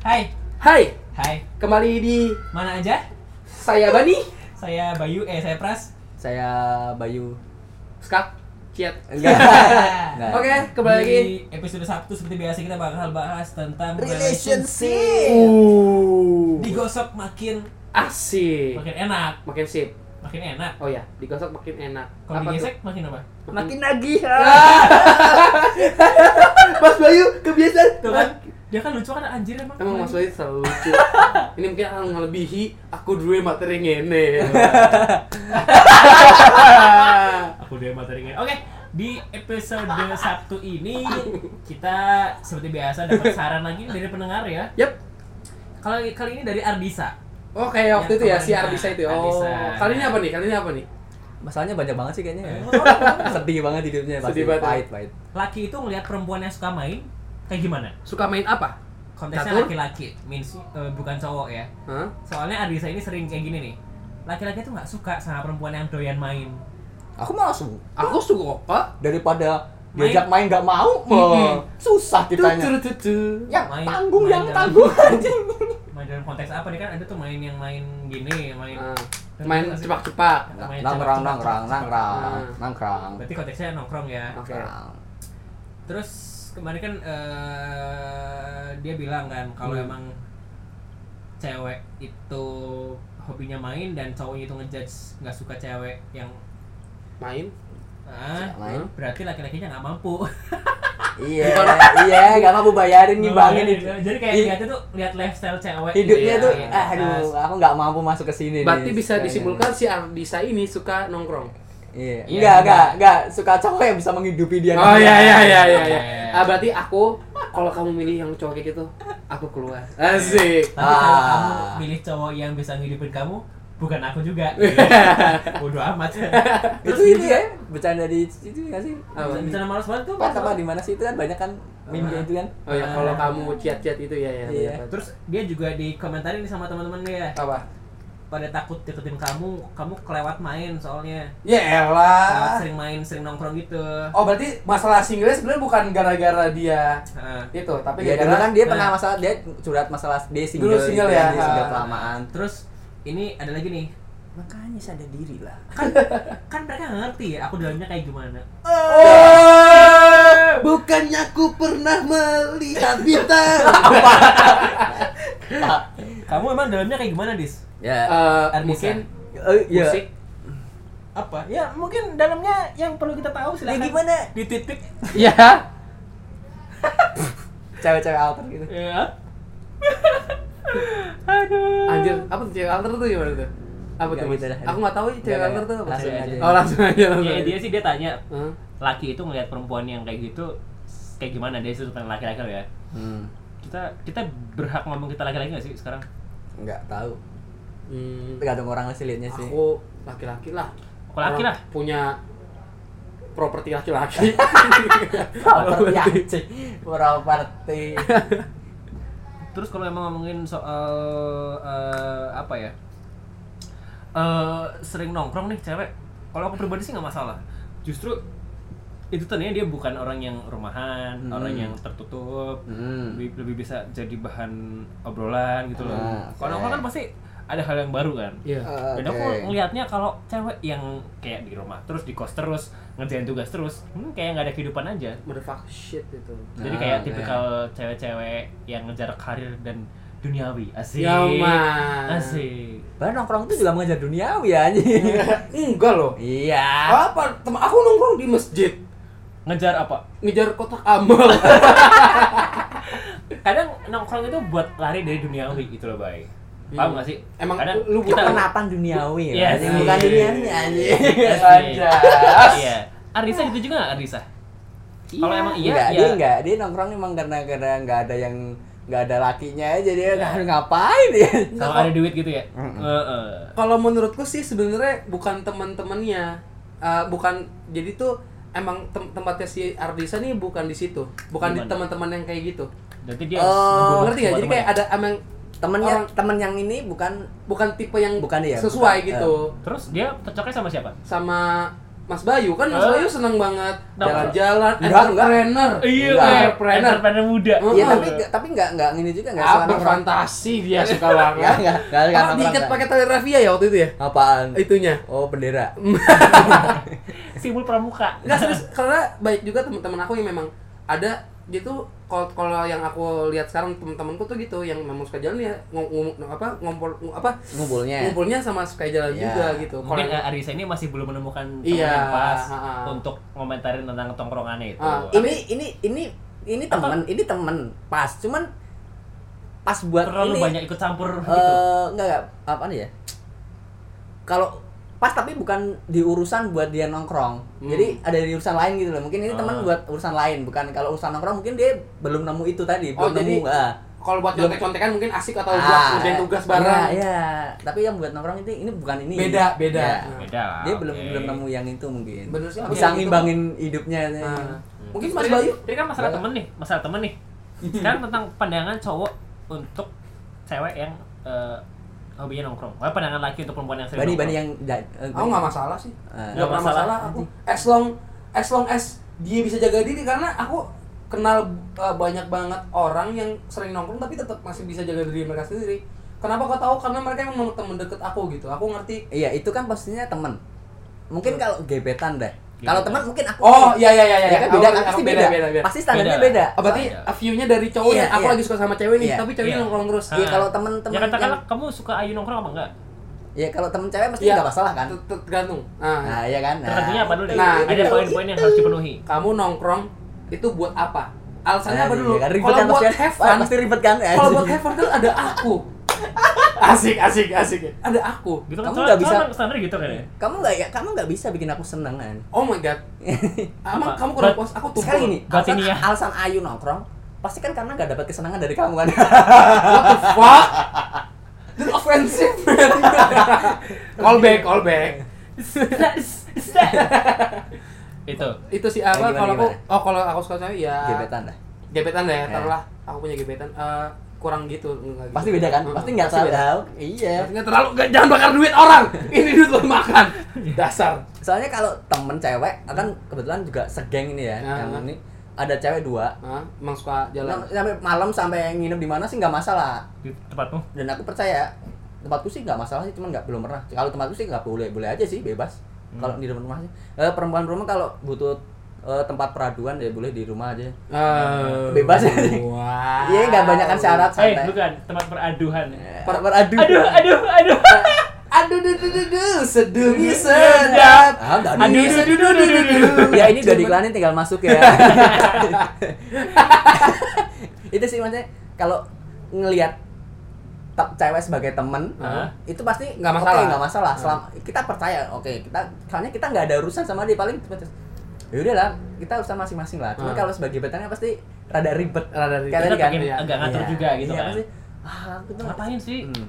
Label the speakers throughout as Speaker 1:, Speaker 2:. Speaker 1: Hai,
Speaker 2: Hai,
Speaker 1: hai.
Speaker 2: kembali di
Speaker 1: Mana aja?
Speaker 2: saya Bani.
Speaker 1: Saya Bayu, eh saya Pras.
Speaker 3: Saya Bayu.
Speaker 2: Skak, Ciat.
Speaker 3: Enggak. Enggak.
Speaker 2: Oke, Nah. kembali
Speaker 1: Di
Speaker 2: lagi.
Speaker 1: episode Sabtu seperti biasa kita bakal bahas tentang
Speaker 3: Relationship.
Speaker 2: Uh,
Speaker 1: Digosok makin
Speaker 2: asik.
Speaker 1: makin enak,
Speaker 2: Makin sip.
Speaker 1: makin enak.
Speaker 2: Oh ya, digosok makin enak.
Speaker 1: Kalau
Speaker 2: Apa
Speaker 1: digesek makin apa?
Speaker 2: tuh?
Speaker 3: Makin nagih. ya.
Speaker 2: Mas Bayu kebiasaan.
Speaker 1: Tuh kan, dia kan lucu kan anjir emang.
Speaker 2: Emang Mas Bayu selalu lucu. Ini mungkin akan ngelebihi aku dua materi ngene.
Speaker 1: Aku dia materinya. Oke, di episode Sabtu ini kita seperti biasa dapat saran lagi dari pendengar ya.
Speaker 2: Yap.
Speaker 1: Kalau kali ini dari Ardisa.
Speaker 2: Oh kayak
Speaker 1: Yang
Speaker 2: waktu itu ya si
Speaker 1: kemarin,
Speaker 2: Ardisa itu. Oh,
Speaker 1: Ardisa.
Speaker 2: kali ini apa nih? Kali ini apa nih?
Speaker 3: Masalahnya banyak banget sih kayaknya. ya.
Speaker 2: Iya.
Speaker 1: Orang
Speaker 3: Sedih banget hidupnya pasti.
Speaker 2: Oh. Sedih banget. ya?
Speaker 3: Pahit, pahit.
Speaker 1: Eh, Laki itu ngelihat perempuan yang suka main kayak gimana?
Speaker 2: Suka main apa?
Speaker 1: konteksnya
Speaker 2: Catur?
Speaker 1: laki-laki means eh, bukan cowok ya
Speaker 2: Hah?
Speaker 1: soalnya Arisa ini sering kayak gini nih laki-laki tuh nggak suka sama perempuan yang doyan main
Speaker 3: Aku malah su-
Speaker 2: Aku suka apa?
Speaker 3: daripada
Speaker 1: Main.
Speaker 3: diajak main nggak mau, wah, susah ditanya. Yang
Speaker 1: Main-
Speaker 3: Ya, tanggung,
Speaker 1: main
Speaker 3: yang
Speaker 1: dalam-
Speaker 3: tanggung anjing.
Speaker 1: main dalam konteks apa nih kan ada tuh main yang main gini yang main
Speaker 2: Ah, main cepak-cepak.
Speaker 1: Main
Speaker 3: Nangrang,
Speaker 1: cepak-cepak,
Speaker 3: nangrang,
Speaker 1: cepak-cepak.
Speaker 3: nangrang,
Speaker 2: Ah.
Speaker 3: nangrang.
Speaker 1: berarti konteksnya nongkrong ya
Speaker 3: Ah.
Speaker 2: Oke.
Speaker 3: Nangrang.
Speaker 1: terus kemarin kan eh, dia bilang kan kalau
Speaker 2: Hmm.
Speaker 1: emang cewek itu hobinya main dan cowoknya itu ngejudge nggak suka cewek yang
Speaker 2: Main.
Speaker 1: ah,
Speaker 3: Main.
Speaker 1: berarti laki-lakinya nggak mampu
Speaker 3: Iya, iya, nggak mampu
Speaker 2: Oh,
Speaker 3: bayarin ngimbangin itu.
Speaker 1: Iya, Jadi kayak
Speaker 3: Iya.
Speaker 1: lihatnya tuh lihat lifestyle cewek. gitu ya.
Speaker 3: Hidupnya
Speaker 2: Iya,
Speaker 3: tuh,
Speaker 2: iya.
Speaker 3: ah,
Speaker 1: Nah,
Speaker 3: aduh, aku nggak mampu masuk ke sini. nih.
Speaker 2: Berarti bisa
Speaker 3: Kayaknya.
Speaker 2: disimpulkan si Ardisa ini suka nongkrong.
Speaker 1: Iya,
Speaker 3: Iya, enggak,
Speaker 1: enggak.
Speaker 3: enggak, enggak suka cowok yang bisa menghidupi dia.
Speaker 2: Oh iya iya iya iya.
Speaker 1: Iya,
Speaker 2: iya.
Speaker 1: iya.
Speaker 2: Ah berarti aku kalau kamu milih yang cowok kayak gitu, aku keluar. Asik.
Speaker 1: Tapi kalau
Speaker 3: Ah.
Speaker 1: kamu milih cowok yang bisa ngidupin kamu, bukan aku juga. Iya. Bodoh amat.
Speaker 3: Itu
Speaker 1: dia
Speaker 3: itu
Speaker 1: juga-
Speaker 3: ya, bercanda di itu enggak sih?
Speaker 2: Apa?
Speaker 1: Bisa bisa malas banget tuh.
Speaker 3: Pas apa di mana sih itu kan banyak kan meme
Speaker 1: Apa?
Speaker 3: itu kan.
Speaker 2: Oh ya kalau kamu ciat-ciat itu ya ya.
Speaker 3: Iya.
Speaker 2: dapat.
Speaker 1: Terus dia juga dikomentarin sama teman-teman dia
Speaker 2: apa?
Speaker 1: pada takut deketin kamu, kamu kelewat main soalnya.
Speaker 2: Ya
Speaker 1: Kelewat
Speaker 2: elah.
Speaker 1: sering main, sering nongkrong gitu.
Speaker 2: Oh berarti masalah singlenya sebenarnya bukan gara-gara dia
Speaker 1: Nah,
Speaker 2: itu, tapi
Speaker 3: Iya, dulu
Speaker 2: gara-gara
Speaker 3: kan dia pernah masalah dia curhat masalah dia
Speaker 2: Dulu
Speaker 3: single,
Speaker 2: single
Speaker 3: gitu kan,
Speaker 2: ya.
Speaker 3: dia single
Speaker 2: Ah.
Speaker 3: kelamaan.
Speaker 1: terus ini ada lagi nih.
Speaker 3: Makanya sadar diri lah.
Speaker 1: Kan kan mereka nggak ngerti ya aku dalamnya kayak gimana.
Speaker 2: Oh,
Speaker 3: Bukannya aku pernah melihat bintang.
Speaker 1: Kamu emang dalamnya kayak gimana, Dis?
Speaker 3: ya,
Speaker 2: Eh,
Speaker 1: Ardisa.
Speaker 2: mungkin
Speaker 3: eh, ya.
Speaker 2: musik
Speaker 1: apa ya mungkin dalamnya yang perlu kita tahu
Speaker 3: Ya
Speaker 1: silakan
Speaker 3: gimana?
Speaker 1: di titik
Speaker 2: ya
Speaker 3: Cewek-cewek alter gitu.
Speaker 1: ya aduh
Speaker 2: anjir apa tuh cewek alter tuh gimana tuh apa
Speaker 3: Nggak
Speaker 2: tuh
Speaker 3: gitu
Speaker 2: mas
Speaker 3: dah.
Speaker 2: aku nggak tahu
Speaker 3: Nggak, ya.
Speaker 2: cewek alter tuh apa
Speaker 3: langsung
Speaker 1: Cewek
Speaker 3: aja. Iya,
Speaker 2: oh langsung aja langsung
Speaker 1: ya
Speaker 2: aja.
Speaker 1: dia sih dia tanya
Speaker 2: Hah?
Speaker 1: laki itu ngelihat perempuan yang kayak gitu kayak gimana dari sudut pandang laki-laki lo ya
Speaker 3: Hmm,
Speaker 1: kita kita berhak ngomong kita laki-laki nggak sih sekarang
Speaker 3: enggak tahu.
Speaker 2: Hmm,
Speaker 3: Tergantung orang sih liatnya sih.
Speaker 2: aku laki-laki lah
Speaker 1: Aku laki
Speaker 2: Orang
Speaker 1: lah.
Speaker 2: punya properti laki-laki
Speaker 3: Properti ya, anjing. Properti.
Speaker 1: terus kalau emang ngomongin soal eh, apa ya Eh, sering nongkrong nih cewek kalau aku pribadi sih nggak masalah justru itu tandanya dia bukan orang yang rumahan
Speaker 3: Hmm.
Speaker 1: orang yang tertutup
Speaker 3: Hmm.
Speaker 1: lebih, lebih bisa jadi bahan obrolan gitu loh.
Speaker 3: Ah, oke.
Speaker 1: Kalau nongkrong kan pasti ada hal yang baru kan.
Speaker 2: iya
Speaker 3: Eh,
Speaker 1: Dan aku
Speaker 3: oke.
Speaker 1: ngelihatnya kalau cewek yang kayak di rumah terus di kos terus ngerjain tugas terus, hmm, kayak nggak ada kehidupan aja.
Speaker 2: motherfuck shit gitu. itu
Speaker 1: Jadi
Speaker 3: Ah,
Speaker 1: kayak
Speaker 3: oke.
Speaker 1: tipikal cewek-cewek yang ngejar karir dan duniawi. Asik.
Speaker 2: ya mas
Speaker 1: Asik.
Speaker 3: Padahal nongkrong itu juga mengejar duniawi anjing.
Speaker 2: Eh, enggak loh
Speaker 3: iya.
Speaker 2: apa teman aku nongkrong di masjid
Speaker 1: Ngejar apa?
Speaker 2: ngejar kotak amal
Speaker 1: Kadang nongkrong itu buat lari dari duniawi gitu loh, Bay. Paham
Speaker 2: Hmm.
Speaker 1: gak sih?
Speaker 2: Emang
Speaker 1: Kadang
Speaker 2: lu
Speaker 1: kita
Speaker 3: Penapan duniawi
Speaker 1: Iya
Speaker 3: ya. anjing.
Speaker 1: sih.
Speaker 3: Bukan duniawi anjing. Iya, kan?
Speaker 1: Asik. Iya. Arisa gitu juga nggak Arisa? Kalau emang iya,
Speaker 3: enggak,
Speaker 1: iya.
Speaker 3: dia enggak, dia nongkrong emang karena karena enggak ada yang enggak ada lakinya aja dia harus ngapain ya.
Speaker 1: Kalau ada duit gitu ya. Heeh.
Speaker 2: kalau menurutku sih sebenarnya bukan teman-temannya Eh, bukan jadi tuh emang tem- tempatnya si Ardisa nih bukan di situ bukan di
Speaker 1: Gimana?
Speaker 2: teman-teman yang kayak gitu
Speaker 1: Nanti dia
Speaker 3: Oh,
Speaker 1: harus
Speaker 2: ngerti nggak jadi kayak ada emang
Speaker 3: Temennya
Speaker 2: Orang-
Speaker 3: temen yang ini bukan
Speaker 2: bukan tipe yang
Speaker 3: Bukan, iya,
Speaker 2: sesuai
Speaker 3: bukan,
Speaker 2: gitu
Speaker 1: Terus dia cocoknya sama siapa?
Speaker 2: sama Mas Bayu kan Mas
Speaker 1: Eh.
Speaker 2: Bayu seneng banget
Speaker 1: Nah,
Speaker 2: jalan-jalan
Speaker 3: enggak, enggak.
Speaker 2: entrepreneur
Speaker 1: Iya,
Speaker 3: Enggak.
Speaker 1: entrepreneur. entrepreneur muda. Gitu.
Speaker 2: Oh,
Speaker 3: Iya
Speaker 2: oh.
Speaker 3: tapi tapi nggak nggak ini juga
Speaker 2: ah
Speaker 3: nggak suara orang.
Speaker 2: berfantasi dia suka
Speaker 3: Ya
Speaker 2: banget
Speaker 3: nggak nggak nggak
Speaker 2: apa
Speaker 3: nongkrong,
Speaker 2: diikat
Speaker 3: nggak.
Speaker 2: pakai tali rafia ya waktu itu
Speaker 3: Hmm.
Speaker 2: ya
Speaker 3: apaan?
Speaker 1: Iya.
Speaker 2: itunya
Speaker 3: Oh bendera.
Speaker 1: Mm. Simbol pramuka.
Speaker 2: Nggak serius karena baik juga teman-teman aku yang memang ada dia tuh kalau kalau yang aku lihat sekarang teman-temanku tuh gitu yang memang suka jalan ya ngom, ngom- apa ngompol ngom- apa
Speaker 3: Ngumpulnya.
Speaker 2: ngumpulnya sama suka jalan
Speaker 3: Iya.
Speaker 2: juga gitu. Kalau
Speaker 1: Mungkin eh, Arisa ini masih belum menemukan teman
Speaker 2: Iya,
Speaker 1: yang pas
Speaker 2: ha, ha.
Speaker 1: untuk komentarin tentang tongkrongannya itu.
Speaker 2: Ah,
Speaker 3: Ini ini ini ini temen ini temen pas cuman pas buat
Speaker 1: terlalu
Speaker 3: ini
Speaker 1: banyak ikut campur
Speaker 3: eh
Speaker 1: gitu.
Speaker 3: enggak enggak apa ya? Kalau pas tapi bukan di urusan buat dia nongkrong.
Speaker 2: Hmm.
Speaker 3: Jadi ada di urusan lain gitu loh. Mungkin ini
Speaker 1: Ah.
Speaker 3: teman buat urusan lain, bukan kalau urusan nongkrong mungkin dia belum nemu itu tadi,
Speaker 2: Oh,
Speaker 3: belum
Speaker 2: jadi
Speaker 3: nemu. ah.
Speaker 2: kalau buat contek-contekan mungkin asik atau buat
Speaker 3: Ah,
Speaker 2: ngerjain tugas bareng.
Speaker 3: Iya, iya. tapi yang buat nongkrong itu ini bukan ini.
Speaker 2: Beda, beda.
Speaker 3: Iya.
Speaker 1: Beda lah.
Speaker 3: Dia belum
Speaker 1: oke.
Speaker 3: belum nemu yang itu mungkin.
Speaker 2: Bener sih, aku yang
Speaker 3: Bisa
Speaker 2: itu.
Speaker 3: ngimbangin hidupnya. Iya.
Speaker 2: Nah, Mungkin
Speaker 1: Terus
Speaker 2: Mas
Speaker 1: tadi-
Speaker 2: Bayu
Speaker 1: Tadi kan masalah
Speaker 3: Boleh.
Speaker 1: temen nih, masalah temen nih. Sekarang tentang pandangan cowok untuk cewek yang eh, hobinya nongkrong. Wah, pandangan laki untuk perempuan yang sering
Speaker 3: Bani bani
Speaker 1: nongkrong.
Speaker 3: yang ja- eh,
Speaker 2: aku nggak masalah sih.
Speaker 3: Eh.
Speaker 2: Nggak pernah
Speaker 1: masalah.
Speaker 2: masalah aku. As long as long as dia bisa jaga diri karena aku kenal uh, banyak banget orang yang sering nongkrong tapi tetap masih bisa jaga diri mereka sendiri. Kenapa kau tahu? Karena mereka emang temen deket aku gitu. Aku ngerti.
Speaker 3: Iya, itu kan pastinya temen. Mungkin kalau gebetan deh. Kalau
Speaker 1: Gebetan.
Speaker 3: teman mungkin aku
Speaker 2: Hmm. Oh iya iya iya
Speaker 3: ya,
Speaker 2: iya.
Speaker 3: kan beda
Speaker 2: Aku-
Speaker 3: kan
Speaker 2: aku
Speaker 3: pasti beda.
Speaker 2: beda, beda.
Speaker 3: Pasti standarnya
Speaker 1: Beda.
Speaker 3: beda.
Speaker 2: Oh, berarti
Speaker 3: Soalnya-
Speaker 2: view-nya dari cowok
Speaker 3: Iya,
Speaker 2: nih, aku
Speaker 3: iya.
Speaker 2: lagi suka sama cewek nih,
Speaker 3: Iya.
Speaker 2: tapi ceweknya
Speaker 1: Iya.
Speaker 2: nongkrong terus.
Speaker 3: Iya
Speaker 1: Ah.
Speaker 3: kalau temen-temen
Speaker 1: Ya katakanlah
Speaker 3: yang-
Speaker 1: kamu suka Ayu nongkrong apa enggak?
Speaker 3: ya kalau temen cewek pasti
Speaker 2: Iya.
Speaker 3: nggak masalah kan.
Speaker 2: Ter- Tergantung. Nah,
Speaker 3: Nah, iya kan. Nah,
Speaker 1: Tertentunya apa dulu? deh?
Speaker 2: Nah,
Speaker 1: ada
Speaker 2: gitu.
Speaker 1: poin-poin yang harus dipenuhi.
Speaker 2: kamu nongkrong itu buat apa? Alasannya apa
Speaker 3: Nah,
Speaker 2: dulu?
Speaker 3: iya kan, ribet
Speaker 2: Kalau
Speaker 3: kan
Speaker 2: buat
Speaker 3: pasti-
Speaker 2: have fun,
Speaker 3: pasti ribet kan.
Speaker 2: kalau buat have fun kan ada aku. Asik, asik, asik. Ada aku.
Speaker 1: Gitu kan
Speaker 3: Kamu
Speaker 1: soalnya-
Speaker 3: nggak bisa-
Speaker 1: soalnya standar gitu kan ya.
Speaker 3: kamu nggak ya kamu nggak bisa bikin aku seneng kan.
Speaker 2: Oh my god. Emang
Speaker 1: Apa?
Speaker 2: kamu kurang
Speaker 1: Bat-
Speaker 2: puas? Aku tuh ya.
Speaker 3: Sekali ini alasan,
Speaker 1: Batinia.
Speaker 3: alasan Ayu nongkrong pasti kan karena nggak dapat kesenangan dari kamu kan.
Speaker 2: What the fuck? That's offensive. man. call back, call back.
Speaker 3: Iya.
Speaker 1: itu.
Speaker 2: Itu sih apa
Speaker 3: Eh, gimana,
Speaker 2: kalau aku
Speaker 3: gimana?
Speaker 2: oh kalau aku suka cewek ya
Speaker 3: gebetan dah.
Speaker 2: gebetan deh,
Speaker 3: Ya.
Speaker 2: taruhlah aku punya gebetan Eh, kurang gitu nggak gitu.
Speaker 3: Pasti beda kan?
Speaker 2: Mm-mm.
Speaker 3: Pasti nggak
Speaker 2: beda.
Speaker 3: tahu. Iya.
Speaker 2: Pasti nggak terlalu nggak- jangan bakar duit orang ini duit lo makan dasar
Speaker 3: soalnya kalau temen cewek kan kebetulan juga segeng ini ya
Speaker 2: Nah.
Speaker 3: yang ini ada cewek dua
Speaker 2: Hah? emang suka jalan
Speaker 3: Nah, sampai malam sampai nginep di mana sih nggak masalah
Speaker 1: Di tempatmu.
Speaker 3: dan aku percaya tempatku sih nggak masalah sih cuman nggak belum pernah kalau tempatku sih nggak boleh boleh aja sih bebas
Speaker 1: Hmm.
Speaker 3: kalau di rumah sih Eh, perempuan-perempuan kalau butuh eh, tempat peraduan ya boleh di rumah aja
Speaker 2: Eh,
Speaker 3: Bebas.
Speaker 2: wow.
Speaker 3: iya nggak banyakan syarat
Speaker 1: Eh,
Speaker 3: santai
Speaker 1: bukan tempat peraduhan.
Speaker 3: Eh, per peradu
Speaker 1: Aduh, aduh, aduh.
Speaker 2: aduh duh duh duh duh seduh
Speaker 1: sedap.
Speaker 2: sedap
Speaker 3: ah udah
Speaker 1: Aduh,
Speaker 3: aduh.
Speaker 1: aduh, aduh, aduh, aduh, aduh.
Speaker 3: ya ini udah diiklanin tinggal masuk ya itu sih maksudnya kalau ngelihat te- cewek sebagai temen
Speaker 1: Hah?
Speaker 3: itu pasti
Speaker 2: Nggak
Speaker 3: oke,
Speaker 2: masalah.
Speaker 3: nggak masalah selama kita percaya oke kita soalnya kita nggak ada urusan sama dia paling ya udahlah kita urusan masing-masing lah cuma
Speaker 2: Hmm.
Speaker 3: kalau sebagai gebetannya pasti rada ribet
Speaker 2: Rada ribet.
Speaker 3: Kayak
Speaker 1: Kita
Speaker 3: tadi kan
Speaker 1: pengen
Speaker 2: iya.
Speaker 1: agak ngatur
Speaker 3: Iya,
Speaker 1: juga gitu
Speaker 3: iya,
Speaker 1: kan.
Speaker 3: pasti, ah, aku tuh-
Speaker 1: Ngapain sih?
Speaker 3: Hmm.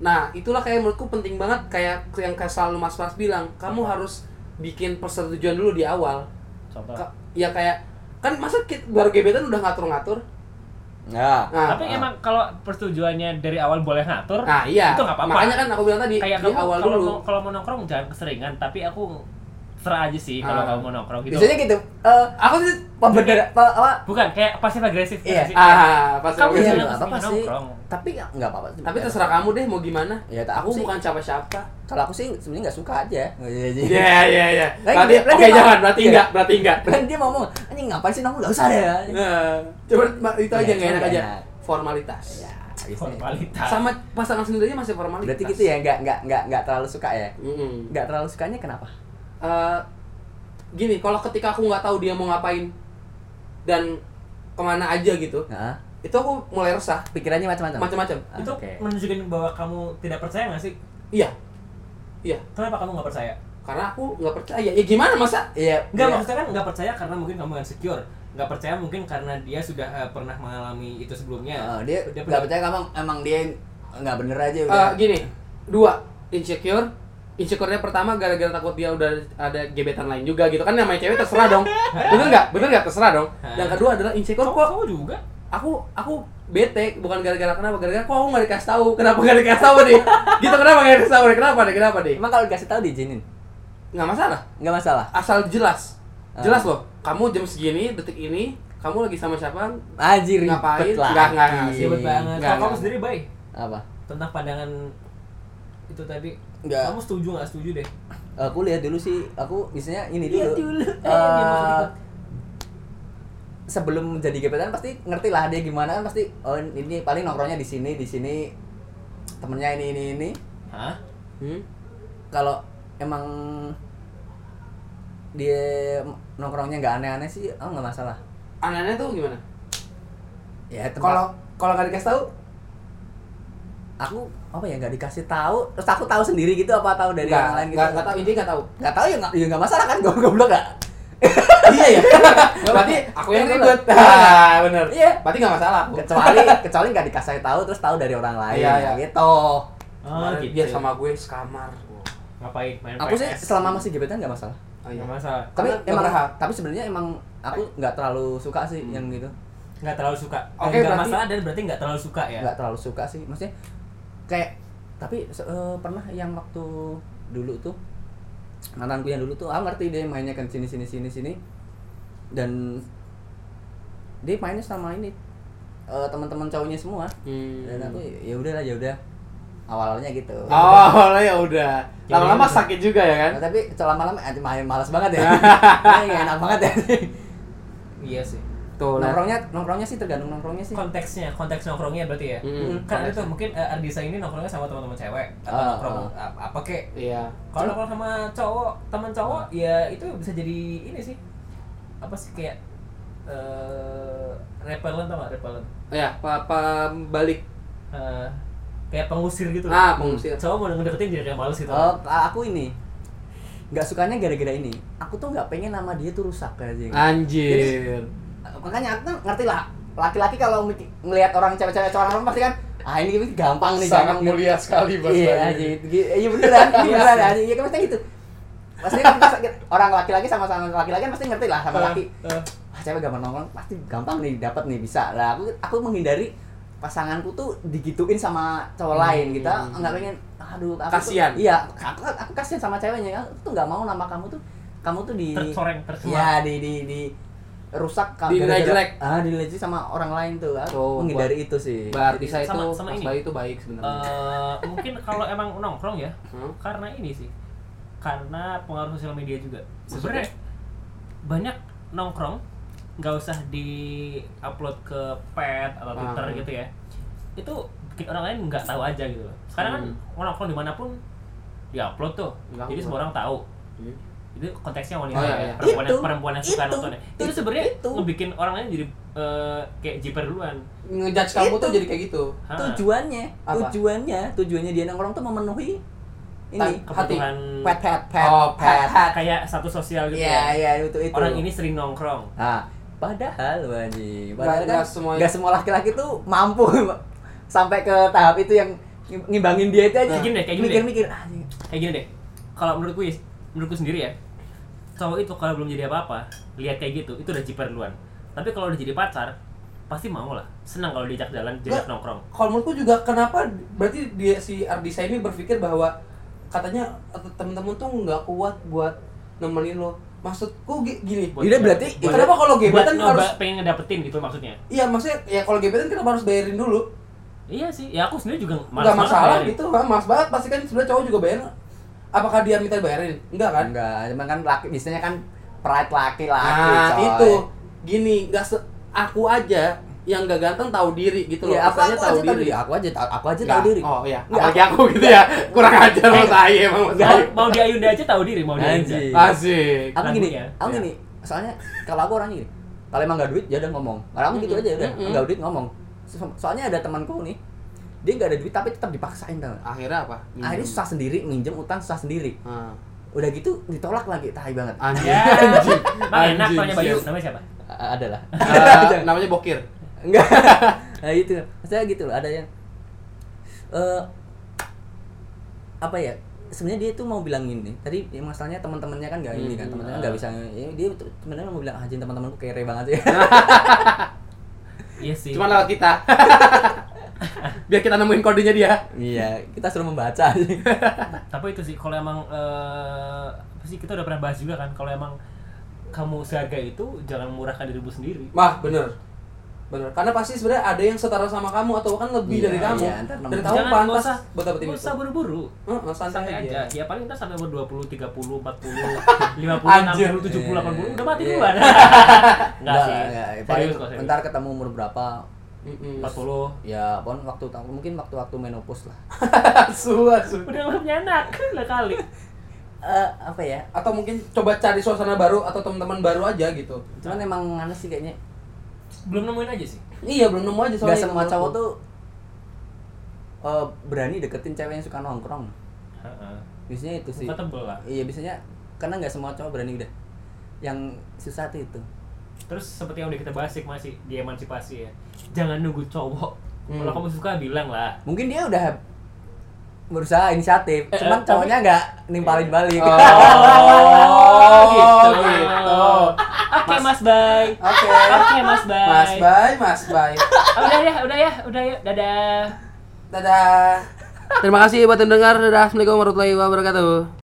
Speaker 2: Nah, itulah kayak menurutku penting banget kayak yang kayak selalu Mas Mas bilang, kamu harus bikin persetujuan dulu di awal.
Speaker 1: Contoh.
Speaker 2: Ka- ya kayak kan masa kita, baru gebetan udah ngatur-ngatur?
Speaker 3: Nah,
Speaker 2: Nah,
Speaker 1: Tapi emang kalau persetujuannya dari awal boleh ngatur,
Speaker 3: Ah,
Speaker 2: nah iya.
Speaker 1: itu nggak apa-apa.
Speaker 2: Makanya kan aku bilang tadi
Speaker 1: kayak
Speaker 2: di
Speaker 1: kamu
Speaker 2: awal
Speaker 1: kalau
Speaker 2: dulu.
Speaker 1: mau kalau mau nongkrong jangan keseringan tapi aku serah aja sih kalau
Speaker 2: Ah.
Speaker 1: kamu mau nongkrong gitu
Speaker 3: biasanya gitu eh
Speaker 2: Aku sih
Speaker 3: pembedera pe- apa
Speaker 1: bukan kayak pasif agresif
Speaker 3: Iya.
Speaker 1: gitu sih.
Speaker 2: ah pas
Speaker 1: Kamu
Speaker 3: iya
Speaker 1: biasanya
Speaker 3: nggak apa-apa
Speaker 1: keseringan
Speaker 3: sih
Speaker 1: nongkrong.
Speaker 3: tapi nggak- nggak apa-apa
Speaker 2: tapi terserah kamu deh mau gimana.
Speaker 3: Ya, tak-
Speaker 2: aku
Speaker 3: aku sih-
Speaker 2: bukan siapa-siapa.
Speaker 3: kalau aku sih sebenarnya nggak suka aja
Speaker 2: Iya, iya, iya. Berarti
Speaker 3: Lagi- lagi
Speaker 2: oke
Speaker 3: apa?
Speaker 2: jangan, berarti
Speaker 3: Iya.
Speaker 2: enggak, berarti enggak.
Speaker 3: Dan dia ngomong, anjing ngapain sih nongkrong? Gak usah ya." deh.
Speaker 2: Nah, coba ma- itu
Speaker 3: Iya,
Speaker 2: aja nggak enak
Speaker 3: nggak
Speaker 2: aja.
Speaker 3: enak.
Speaker 2: Formalitas.
Speaker 3: Ya,
Speaker 2: Oh,
Speaker 1: formalitas
Speaker 2: Sama pasangan sendiri aja masih formalitas.
Speaker 3: Berarti gitu ya, nggak nggak nggak nggak terlalu suka ya.
Speaker 2: Mm-mm.
Speaker 3: Nggak terlalu sukanya kenapa?
Speaker 2: Eh, gini kalau ketika aku nggak tahu dia mau ngapain dan kemana aja gitu
Speaker 3: Nah,
Speaker 2: itu aku mulai resah
Speaker 3: pikirannya macam-macam.
Speaker 2: macam-macam
Speaker 3: Ah,
Speaker 1: itu
Speaker 3: oke.
Speaker 1: menunjukkan bahwa kamu tidak percaya nggak sih
Speaker 2: iya iya
Speaker 1: kenapa kamu nggak percaya
Speaker 2: karena aku nggak percaya ya gimana masa
Speaker 3: Iya.
Speaker 1: nggak
Speaker 3: iya.
Speaker 1: maksudnya kan nggak percaya karena mungkin kamu insecure nggak percaya mungkin karena dia sudah eh, pernah mengalami itu sebelumnya
Speaker 2: Ah.
Speaker 3: Oh, dia
Speaker 1: Dia
Speaker 3: nggak
Speaker 1: pernah-
Speaker 3: percaya kamu emang dia nggak bener aja udah.
Speaker 2: Eh, gini dua insecure insecure-nya pertama gara-gara takut dia udah ada gebetan lain juga gitu kan namanya cewek terserah dong bener nggak bener nggak terserah dong yang kedua adalah insecure
Speaker 1: kamu,
Speaker 2: kok
Speaker 1: kamu juga
Speaker 2: aku aku bete bukan gara-gara kenapa gara-gara kok aku nggak dikasih tahu kenapa nggak dikasih tahu nih gitu kenapa nggak dikasih tahu nih kenapa nih kenapa nih
Speaker 3: Emang kalau dikasih tahu diizinin.
Speaker 2: nggak masalah
Speaker 3: nggak masalah
Speaker 2: asal jelas jelas
Speaker 3: Ah.
Speaker 2: loh kamu jam segini detik ini kamu lagi sama siapa
Speaker 3: anjir
Speaker 2: Ngapain?
Speaker 3: ribet lagi.
Speaker 2: Nggak, nggak, Iya. nggak, sih,
Speaker 1: Ribet banget.
Speaker 2: Enggak,
Speaker 1: Kalau kamu
Speaker 2: enggak.
Speaker 1: sendiri baik
Speaker 3: apa
Speaker 1: tentang pandangan itu tadi.
Speaker 3: Enggak.
Speaker 1: Kamu setuju nggak setuju deh?
Speaker 3: aku lihat dulu sih aku misalnya ini
Speaker 1: Lihat
Speaker 3: dulu,
Speaker 1: dulu.
Speaker 3: Eh, sebelum jadi gebetan kan pasti ngerti lah dia gimana kan pasti oh ini paling nongkrongnya di sini di sini temennya ini ini ini
Speaker 1: Hah?
Speaker 2: hmm?
Speaker 3: kalau emang dia nongkrongnya nggak aneh-aneh sih oh nggak masalah
Speaker 2: anehnya tuh gimana
Speaker 3: ya tempat-
Speaker 2: kalau kalau nggak dikasih tahu
Speaker 3: aku apa ya nggak dikasih tahu terus aku tahu sendiri gitu apa tahu dari
Speaker 2: nggak
Speaker 3: orang lain gitu
Speaker 2: nggak nggak tahu ini nggak tahu
Speaker 3: nggak tahu ya nggak ya nggak masalah kan gue goblok nggak
Speaker 2: iya ya berarti aku yang
Speaker 3: Iya,
Speaker 2: ribet
Speaker 3: bener.
Speaker 2: Ah, bener
Speaker 3: Iya.
Speaker 2: berarti nggak masalah aku.
Speaker 3: kecuali kecuali nggak dikasih tahu terus tahu dari orang lain
Speaker 2: Iya, iya.
Speaker 3: gitu
Speaker 1: Ah,
Speaker 2: Kemarin
Speaker 1: gitu.
Speaker 2: dia sama gue sekamar
Speaker 1: ngapain? Main
Speaker 3: aku sih
Speaker 1: PS.
Speaker 3: selama masih gebetan nggak masalah
Speaker 2: oh, iya.
Speaker 1: Nggak masalah.
Speaker 3: tapi
Speaker 2: Karena
Speaker 3: emang
Speaker 2: berhak. Hmm.
Speaker 3: tapi sebenarnya emang aku nggak terlalu suka sih yang gitu
Speaker 1: Nggak terlalu suka.
Speaker 2: Oke,
Speaker 1: Nggak
Speaker 2: berarti-
Speaker 1: masalah dan berarti nggak terlalu suka
Speaker 2: Iya.
Speaker 1: ya.
Speaker 3: nggak terlalu suka sih maksudnya kayak tapi se- eh, pernah yang waktu dulu tuh mantanku yang dulu tuh ah ngerti dia mainnya kan sini sini sini sini dan dia mainnya sama ini eh, teman-teman cowoknya semua
Speaker 2: Hmm.
Speaker 3: dan aku ya udahlah ya udah awalnya gitu
Speaker 2: Oh, lah ya udah. Lama-lama
Speaker 1: udah.
Speaker 2: sakit juga ya kan?
Speaker 3: Nah, tapi selama lama main malas banget ya Kayaknya nggak enak banget ya
Speaker 1: Iya sih.
Speaker 2: Tuh, lah.
Speaker 3: nongkrongnya nongkrongnya sih tergantung nongkrongnya sih
Speaker 1: Konteksnya, konteks nongkrongnya berarti ya.
Speaker 2: Mm-mm.
Speaker 1: Kan
Speaker 2: Konteks.
Speaker 1: itu mungkin eh, Ardisa ini nongkrongnya sama teman-teman cewek atau
Speaker 3: Ah,
Speaker 1: nongkrong ap- apa kek.
Speaker 2: Iya.
Speaker 1: Kalau nongkrong sama cowok, teman cowok
Speaker 2: Hmm.
Speaker 1: ya itu bisa jadi ini sih. Apa sih kayak eh repellent tau nggak repellent?
Speaker 2: Ya, apa balik.
Speaker 1: Eh, kayak pengusir gitu.
Speaker 2: Ah, pengusir. Oh.
Speaker 1: Cowok mau ngedeketin jadi kayak males gitu.
Speaker 3: Eh, aku ini nggak sukanya gara-gara ini aku tuh nggak pengen nama dia tuh rusak kayak gitu.
Speaker 4: Ah.
Speaker 2: Anjir.
Speaker 3: makanya aku kan ngerti lah laki-laki kalau mik- ngelihat orang cewek-cewek cowok orang pasti kan ah ini gampang nih
Speaker 4: Sangat
Speaker 3: gampang
Speaker 4: mulia sekali Mas
Speaker 3: iya
Speaker 4: Bayu.
Speaker 3: aja iya beneran beneran aja iya kan pasti gitu pasti kan kita- kita- orang laki-laki sama-sama laki-laki kan pasti ngerti lah
Speaker 4: Ah.
Speaker 3: sama laki
Speaker 1: Eh,
Speaker 3: wah Ah, cewek gampang nongkrong pasti gampang nih dapat nih bisa lah aku aku menghindari pasanganku tuh digituin sama cowok lain
Speaker 2: Hmm.
Speaker 3: kita nggak pengen aduh aku tuh-
Speaker 2: Kasian.
Speaker 3: iya aku aku kasihan sama ceweknya aku tuh nggak mau nama kamu tuh kamu tuh di
Speaker 1: tercoreng,
Speaker 2: Iya.
Speaker 1: tercemar.
Speaker 3: ya di di di rusak kan
Speaker 2: Dinilai
Speaker 3: gara-gara-
Speaker 2: jelek. Oh,
Speaker 3: ah dinilai jelek sama orang lain tuh aku
Speaker 2: Tuh,
Speaker 3: menghindari itu sih
Speaker 2: Mbak Artisa itu,
Speaker 1: Sama- sama
Speaker 2: Mas
Speaker 1: ini.
Speaker 2: Bayu itu baik sebenarnya.
Speaker 1: Eh, mungkin kalau emang nongkrong ya
Speaker 2: Hmm?
Speaker 1: karena ini sih karena pengaruh sosial media juga sebenarnya banyak nongkrong nggak usah di upload ke pet atau twitter
Speaker 2: Ah.
Speaker 1: gitu ya itu bikin orang lain nggak tahu aja gitu loh sekarang kan mau nongkrong dimanapun di upload tuh
Speaker 2: Hmm. Nggak
Speaker 1: jadi
Speaker 2: upload.
Speaker 1: semua orang tahu
Speaker 2: Hmm.
Speaker 1: itu konteksnya wanita
Speaker 2: Oh, iya,
Speaker 1: ya,
Speaker 2: iya.
Speaker 1: perempuan yang
Speaker 3: Itu,
Speaker 1: perempuan yang suka
Speaker 3: itu,
Speaker 1: nontonnya itu,
Speaker 3: itu,
Speaker 1: sebenarnya
Speaker 3: itu.
Speaker 1: ngebikin orang lain jadi eh, kayak jiper duluan
Speaker 2: Ngejudge kamu
Speaker 3: Itu.
Speaker 2: tuh jadi kayak gitu.
Speaker 1: Hah,
Speaker 3: tujuannya
Speaker 2: Apa?
Speaker 3: tujuannya tujuannya dia nongkrong tuh memenuhi ini
Speaker 2: Tan-
Speaker 1: kebutuhan
Speaker 3: pet pet pet
Speaker 2: Oh, pet, pet.
Speaker 1: kayak status sosial gitu
Speaker 3: Iya,
Speaker 1: ya
Speaker 3: iya itu itu.
Speaker 1: orang ini sering nongkrong
Speaker 3: Nah, padahal wajib.
Speaker 2: Nggak-
Speaker 3: Padahal kan
Speaker 2: nggak semua-
Speaker 3: nggak semua laki-laki tuh mampu sampai ke tahap itu yang ngim- ngimbangin dia itu
Speaker 2: Nah.
Speaker 3: aja.
Speaker 1: Kayak gini deh, kayak gini deh.
Speaker 3: Mikir-mikir. ah, ini-
Speaker 1: kayak gini deh kalau menurut gue menurut gue sendiri ya cowok itu kalau belum jadi apa-apa lihat kayak gitu itu udah jiper duluan tapi kalau udah jadi pacar pasti mau lah senang kalau diajak jalan diajak
Speaker 2: Nggak.
Speaker 1: nongkrong
Speaker 2: Kalau menurutku juga kenapa berarti dia si Ardisa ini berpikir bahwa katanya temen-temen tuh nggak kuat buat nemenin lo. Maksudku gi- gini.
Speaker 1: Buat-
Speaker 3: Ini berarti
Speaker 1: buat-
Speaker 2: Kenapa kalau
Speaker 1: buat
Speaker 2: gebetan
Speaker 1: nyoba
Speaker 2: harus
Speaker 1: pengen ngedapetin gitu maksudnya
Speaker 2: Iya, maksudnya ya kalau gebetan kenapa harus bayarin dulu?
Speaker 1: iya sih ya aku sendiri juga
Speaker 2: nggak
Speaker 1: banget
Speaker 2: masalah
Speaker 1: bayarin.
Speaker 2: gitu kan mas banget pasti kan sebenarnya cowok juga bayar apakah dia minta bayarin enggak kan
Speaker 3: Enggak, cuman kan laki biasanya kan pride laki-laki.
Speaker 2: nah
Speaker 3: coy.
Speaker 2: itu gini nggak se- aku aja yang gak ganteng tahu diri gitu loh
Speaker 3: Ya, aku,
Speaker 2: Rasanya
Speaker 3: aku aja tahu diri. Aku aja tahu, aku aja tahu
Speaker 2: Nggak.
Speaker 3: diri.
Speaker 2: oh iya
Speaker 3: Nggak.
Speaker 2: apalagi aku gitu ya kurang ajar lo saya emang mas
Speaker 1: mau,
Speaker 2: Ayu.
Speaker 1: mau di Ayunda aja tahu diri mau di Ayunda
Speaker 3: Anjing.
Speaker 2: asik
Speaker 3: Aku gini,
Speaker 1: Lagunya.
Speaker 3: aku
Speaker 2: Ya.
Speaker 3: gini. Soalnya kalau aku orangnya gini, kalau emang nggak duit ya udah ngomong. Kalau aku gitu
Speaker 2: Mm-mm.
Speaker 3: aja udah,
Speaker 2: Mm-mm.
Speaker 3: nggak duit ngomong. So- Soalnya ada temanku nih, dia nggak ada duit tapi tetap dipaksain tau. nggak?
Speaker 2: akhirnya apa Minum.
Speaker 3: Akhirnya susah sendiri, minjem utang susah sendiri.
Speaker 2: Ah.
Speaker 3: udah gitu ditolak lagi tai banget
Speaker 2: anjing
Speaker 1: ya
Speaker 2: anjing
Speaker 1: Bang, enak
Speaker 2: Anjing,
Speaker 1: soalnya Bayu
Speaker 2: siap.
Speaker 1: namanya siapa
Speaker 3: A- ada lah
Speaker 2: Eh, namanya bokir
Speaker 3: enggak nah, itu maksudnya gitu loh ada yang eh apa ya sebenarnya dia tuh mau bilang ini tadi ya, masalahnya teman-temannya kan nggak ini kan
Speaker 2: Hmm,
Speaker 3: teman-teman nggak bisa ya, dia tuh sebenarnya mau bilang anjing teman-temanku ya." kere banget sih
Speaker 1: iya sih
Speaker 2: cuma lewat kita biar kita nemuin kodenya dia
Speaker 3: Iya, kita suruh membaca.
Speaker 1: tapi itu sih kalau emang eh, apa sih kita udah pernah bahas juga kan kalau emang kamu seharga itu jangan murahkan dirimu sendiri
Speaker 2: mah bener bener karena pasti sebenarnya ada yang setara sama kamu atau bahkan lebih
Speaker 3: Iya,
Speaker 2: dari kamu
Speaker 3: iya, ntar
Speaker 2: dan
Speaker 3: nemu.
Speaker 2: kamu
Speaker 1: jangan nggak
Speaker 2: pantas
Speaker 1: usah
Speaker 2: buat dapetin
Speaker 1: nggak
Speaker 2: itu
Speaker 1: usah buru-buru
Speaker 2: Heeh, santai,
Speaker 1: santai
Speaker 2: aja,
Speaker 1: aja ya paling kita sampai umur 20, 30, 40, 50, 50,
Speaker 2: Anjir.
Speaker 1: 60, 70, 80 udah mati
Speaker 3: Iya.
Speaker 1: duluan enggak sih
Speaker 3: enggak. Paling
Speaker 1: serius kok serius.
Speaker 3: bentar ketemu umur berapa?
Speaker 2: Mm-mm.
Speaker 1: 40
Speaker 3: Ya, pon waktu tahun mungkin waktu-waktu menopause lah.
Speaker 2: asu asu
Speaker 1: udah nggak punya anak lah kali
Speaker 3: Eh, apa ya?
Speaker 2: atau mungkin coba cari suasana baru atau teman-teman baru aja gitu
Speaker 3: Cuman emang aneh sih kayaknya.
Speaker 1: belum nemuin aja sih
Speaker 2: iya belum nemu aja soalnya
Speaker 3: Gak semua
Speaker 2: menurutku.
Speaker 3: cowok tuh eh, berani deketin cewek yang suka nongkrong.
Speaker 1: Heeh.
Speaker 3: Biasanya itu sih.
Speaker 1: Muka tebel lah
Speaker 3: Iya, biasanya karena nggak semua cowok berani udah. Yang susah tuh itu.
Speaker 1: terus seperti yang udah kita bahas sih masih di emansipasi ya jangan nunggu cowok
Speaker 2: Hmm.
Speaker 1: kalau kamu suka bilang lah
Speaker 3: Mungkin dia udah berusaha inisiatif,
Speaker 1: Eh,
Speaker 3: cuman
Speaker 1: eh, Iya.
Speaker 3: cowoknya nggak nimpalin balik.
Speaker 2: oh
Speaker 1: gitu.
Speaker 2: gitu,
Speaker 1: Oke Mas Bay.
Speaker 2: oke
Speaker 1: Oke Mas Bay.
Speaker 2: mas bye mas bye
Speaker 1: Oh, udah ya, udah ya, udah ya. Dadah.
Speaker 2: dadah terima kasih buat yang dengar dadah assalamualaikum warahmatullahi wabarakatuh